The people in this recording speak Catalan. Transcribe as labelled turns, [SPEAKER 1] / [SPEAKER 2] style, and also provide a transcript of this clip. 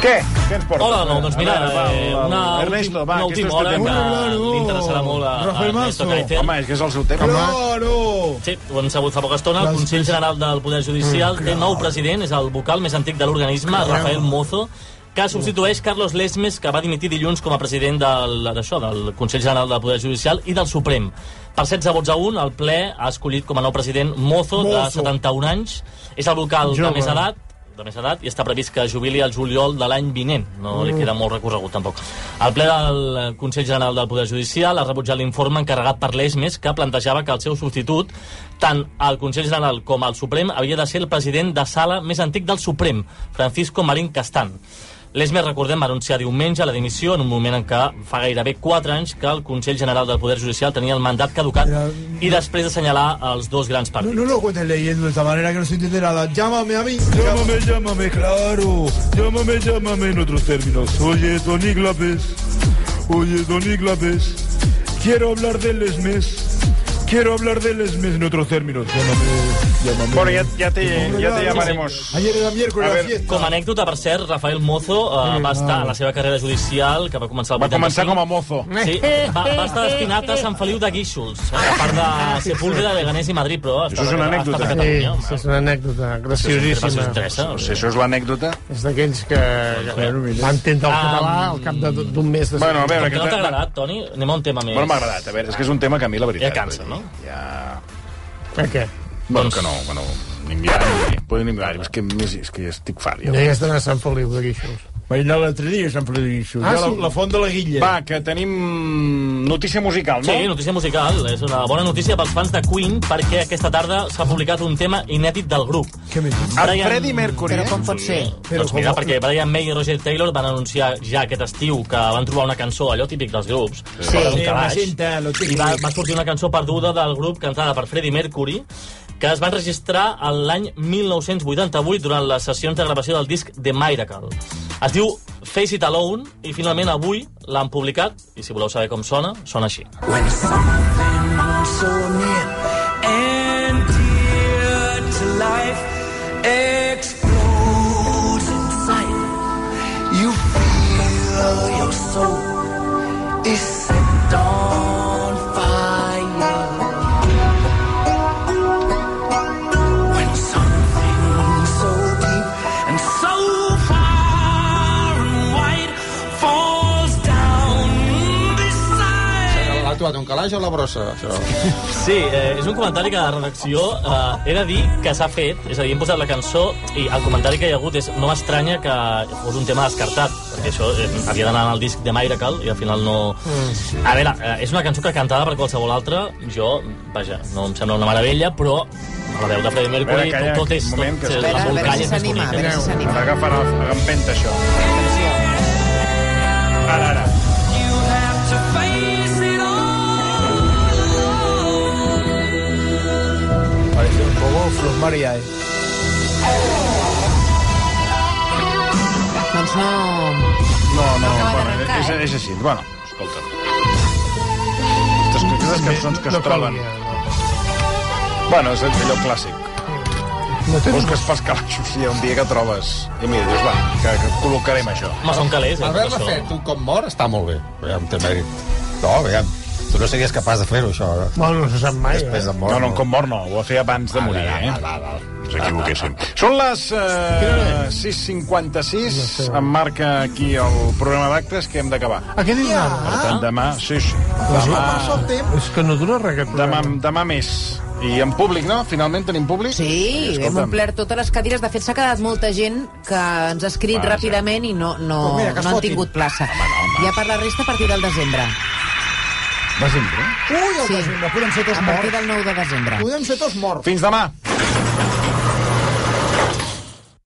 [SPEAKER 1] Què? Què ens portes?
[SPEAKER 2] Hola, no, doncs mira,
[SPEAKER 1] A veure, va,
[SPEAKER 2] eh,
[SPEAKER 1] va,
[SPEAKER 2] una,
[SPEAKER 1] va.
[SPEAKER 2] Ernesto,
[SPEAKER 1] Ernesto, va,
[SPEAKER 2] una
[SPEAKER 1] que
[SPEAKER 2] última
[SPEAKER 1] esto es
[SPEAKER 2] hora
[SPEAKER 1] tu
[SPEAKER 2] que
[SPEAKER 1] tema.
[SPEAKER 2] li interessarà molt a, a eh, Ernesto Caicedo.
[SPEAKER 1] Home, és que és el seu tema.
[SPEAKER 3] Claro!
[SPEAKER 2] Sí, ho hem sabut fa poca estona. El Consell General del Poder Judicial
[SPEAKER 3] Mm,
[SPEAKER 2] té nou president, és el vocal més antic de l'organisme, Rafael Mozo,
[SPEAKER 3] Mm.
[SPEAKER 2] que substitueix Carlos Lesmes, que va dimitir dilluns com a president del, d'això, del Consell General del Poder Judicial i del Suprem. Per 16 vots a 1, el ple ha escollit com a nou president Mozo, de
[SPEAKER 3] Mozo.
[SPEAKER 2] 71 anys. És el vocal de
[SPEAKER 3] Jove.
[SPEAKER 2] més edat, de més edat i està previst que es jubili al juliol de l'any vinent. No li queda molt recorregut, tampoc. El ple del Consell General del Poder Judicial ha rebutjat l'informe encarregat per l'ESMES que plantejava que el seu substitut, tant al Consell General com al Suprem, havia de ser el president de sala més antic del Suprem, Francisco Marín Castan. L'ESMES, recordem, va anunciar diumenge la dimissió en un moment en què fa gairebé 4 anys que el Consell General del Poder Judicial tenia el mandat caducat
[SPEAKER 3] Era-
[SPEAKER 2] i després d'assenyalar els dos grans
[SPEAKER 3] No,
[SPEAKER 2] partits.
[SPEAKER 3] no lo cuentes leyendo de esta manera que no se entiende nada. Llámame a mí. Llámame.
[SPEAKER 4] Llámame, llámame, claro. Llámame, llámame en otros términos. Oye, don Iglapes. Oye, don Iglapes. Quiero hablar del ESMES. Quiero hablar del ESMES en otros términos. Llámame, llámame.
[SPEAKER 1] Bueno, ja, ja, te, ja te llamaremos.
[SPEAKER 3] Ayer era miércoles,
[SPEAKER 1] A
[SPEAKER 3] la
[SPEAKER 1] ver,
[SPEAKER 3] fiesta.
[SPEAKER 2] Com a anècdota, per cert, Rafael Mozo eh, va estar a la seva carrera judicial, que va començar el
[SPEAKER 1] Va
[SPEAKER 2] 85.
[SPEAKER 1] començar com a Eh, mozo.
[SPEAKER 2] Sí, va, va estar destinat
[SPEAKER 1] eh.
[SPEAKER 2] a Sant Feliu de Guíxols, eh, a part de Sepúlveda, Leganés i Madrid, però... ha estat
[SPEAKER 1] Ah, Això és
[SPEAKER 2] a-
[SPEAKER 1] una
[SPEAKER 2] ha estat a
[SPEAKER 1] anècdota.
[SPEAKER 5] Sí,
[SPEAKER 2] Catalunya, home.
[SPEAKER 5] sí, és una anècdota
[SPEAKER 2] Però si us
[SPEAKER 5] graciosíssima.
[SPEAKER 2] interessa,
[SPEAKER 1] No sé, això és l'anècdota.
[SPEAKER 5] És d'aquells que, que va entendre
[SPEAKER 2] Ah,
[SPEAKER 5] el català al cap de- d'un mes. De
[SPEAKER 1] Bueno, a veure...
[SPEAKER 2] Com que no t'ha
[SPEAKER 1] aquesta-
[SPEAKER 2] agradat, Toni, anem a un tema més.
[SPEAKER 1] Bueno, m'ha agradat. A veure, és que és un tema que a mi, la veritat...
[SPEAKER 2] Ja cansa, no?
[SPEAKER 1] Ja...
[SPEAKER 5] Per què?
[SPEAKER 1] Bueno,
[SPEAKER 2] Doncs-
[SPEAKER 1] que no, que no. Ni mirar, ni... Podem ni mirar. És que, més, és que ja estic fart,
[SPEAKER 5] Ja
[SPEAKER 1] ja.
[SPEAKER 5] hi has d'anar a Sant Feliu de Guíxols.
[SPEAKER 3] Vaig anar l'altre dia a Sant Feliu de Guíxols.
[SPEAKER 5] Ah,
[SPEAKER 3] Ah, sí?
[SPEAKER 5] sí?
[SPEAKER 3] la, la font de la Guilla.
[SPEAKER 1] Va, que tenim notícia musical, no?
[SPEAKER 2] Sí, notícia musical. És una bona notícia pels fans de Queen, perquè aquesta tarda s'ha publicat un tema inèdit del grup.
[SPEAKER 5] Què més?
[SPEAKER 1] El
[SPEAKER 2] Brian-
[SPEAKER 1] Freddie Mercury.
[SPEAKER 6] Però
[SPEAKER 1] eh?
[SPEAKER 6] com pot ser?
[SPEAKER 5] Però
[SPEAKER 2] doncs mira,
[SPEAKER 5] com-
[SPEAKER 2] perquè Brian May i Roger Taylor van anunciar ja aquest estiu que van trobar una cançó, allò típic dels grups,
[SPEAKER 6] Sí.
[SPEAKER 2] fora d'un
[SPEAKER 6] Sí,
[SPEAKER 2] calaix,
[SPEAKER 3] una cinta, lo típic.
[SPEAKER 2] i va, va sortir una cançó perduda del grup cantada per Freddie Mercury, que es van registrar a l'any 1988 durant les sessions de gravació del disc The Miracle. Es diu Face It Alone i finalment avui l'han publicat i si voleu saber com sona, sona així.
[SPEAKER 7] so near and dear to life explodes inside. You feel your soul is set on fire. When something so deep and so far and wide falls down beside.
[SPEAKER 6] L'ha actuat un calaix o la brossa, això?
[SPEAKER 2] Sí, eh, és un comentari que la redacció eh, he de dir que s'ha fet, és a dir, hem posat la cançó i el comentari que hi ha hagut és no m'estranya que fos un tema descartat, perquè això eh, havia d'anar al disc de Miracle i al final no...
[SPEAKER 1] Mm.
[SPEAKER 2] A veure, eh, és una cançó que cantada per qualsevol altra, jo, vaja, no em sembla una meravella, però a la veu de Freddie
[SPEAKER 1] A
[SPEAKER 2] Mercury
[SPEAKER 1] veure, calla,
[SPEAKER 2] tot, tot
[SPEAKER 1] un
[SPEAKER 2] és... Tot,
[SPEAKER 1] moment, que
[SPEAKER 2] eh,
[SPEAKER 1] espera,
[SPEAKER 2] la
[SPEAKER 6] a
[SPEAKER 2] molt
[SPEAKER 6] veure
[SPEAKER 2] calla
[SPEAKER 6] si
[SPEAKER 2] és més
[SPEAKER 6] s'anima,
[SPEAKER 2] bonica.
[SPEAKER 6] a veure si s'anima.
[SPEAKER 1] Agafarà, agampenta, això. Ara, ara.
[SPEAKER 7] You have to face it all.
[SPEAKER 3] Parece un poco Flor Maria, eh?
[SPEAKER 6] Doncs no...
[SPEAKER 1] No, no,
[SPEAKER 6] acaba
[SPEAKER 1] bueno,
[SPEAKER 6] d'arrencar,
[SPEAKER 1] és,
[SPEAKER 6] eh?
[SPEAKER 1] és així. Bueno, escolta. Aquestes, aquestes cançons que es troben.
[SPEAKER 5] calia,
[SPEAKER 1] Bueno, és allò clàssic.
[SPEAKER 5] No tens
[SPEAKER 1] Busques pels calaixos i hi ha un dia que trobes... I mira, dius, va, que, que col·locarem això.
[SPEAKER 2] Home, són calés, eh,
[SPEAKER 6] Albert
[SPEAKER 2] tot
[SPEAKER 6] l'ha
[SPEAKER 2] això.
[SPEAKER 6] fet un cop mort, està molt bé. Aviam, té mèrit. No, aviam, tu no series capaç de fer-ho, això. eh?
[SPEAKER 5] Bueno, no se sap mai.
[SPEAKER 6] Després
[SPEAKER 5] Eh?
[SPEAKER 6] de mort.
[SPEAKER 1] No, no, com mort no, ho va fer abans de morir, eh? Us equivoquéssim. Són les eh, 6.56, em marca aquí el programa d'actes que hem d'acabar.
[SPEAKER 5] A què dius ara?
[SPEAKER 1] Per tant, demà... Sí, sí. Demà,
[SPEAKER 5] És que no dura res aquest
[SPEAKER 1] demà,
[SPEAKER 5] programa.
[SPEAKER 1] demà més. I en públic, no? Finalment tenim públic?
[SPEAKER 6] Sí, hem
[SPEAKER 1] escolta'm.
[SPEAKER 6] omplert totes les cadires. De fet, s'ha quedat molta gent que ens ha escrit
[SPEAKER 1] Vaja.
[SPEAKER 6] ràpidament i no, no,
[SPEAKER 3] Doncs mira, que es
[SPEAKER 6] no han
[SPEAKER 3] fotin.
[SPEAKER 6] tingut plaça. Ja per la resta a partir del desembre.
[SPEAKER 1] Desembre.
[SPEAKER 3] Ui, el
[SPEAKER 6] Sí.
[SPEAKER 1] eh?
[SPEAKER 3] desembre, podem ser tots
[SPEAKER 6] A partir
[SPEAKER 3] morts.
[SPEAKER 6] del 9 de desembre.
[SPEAKER 3] Podem ser tots morts.
[SPEAKER 1] Fins demà.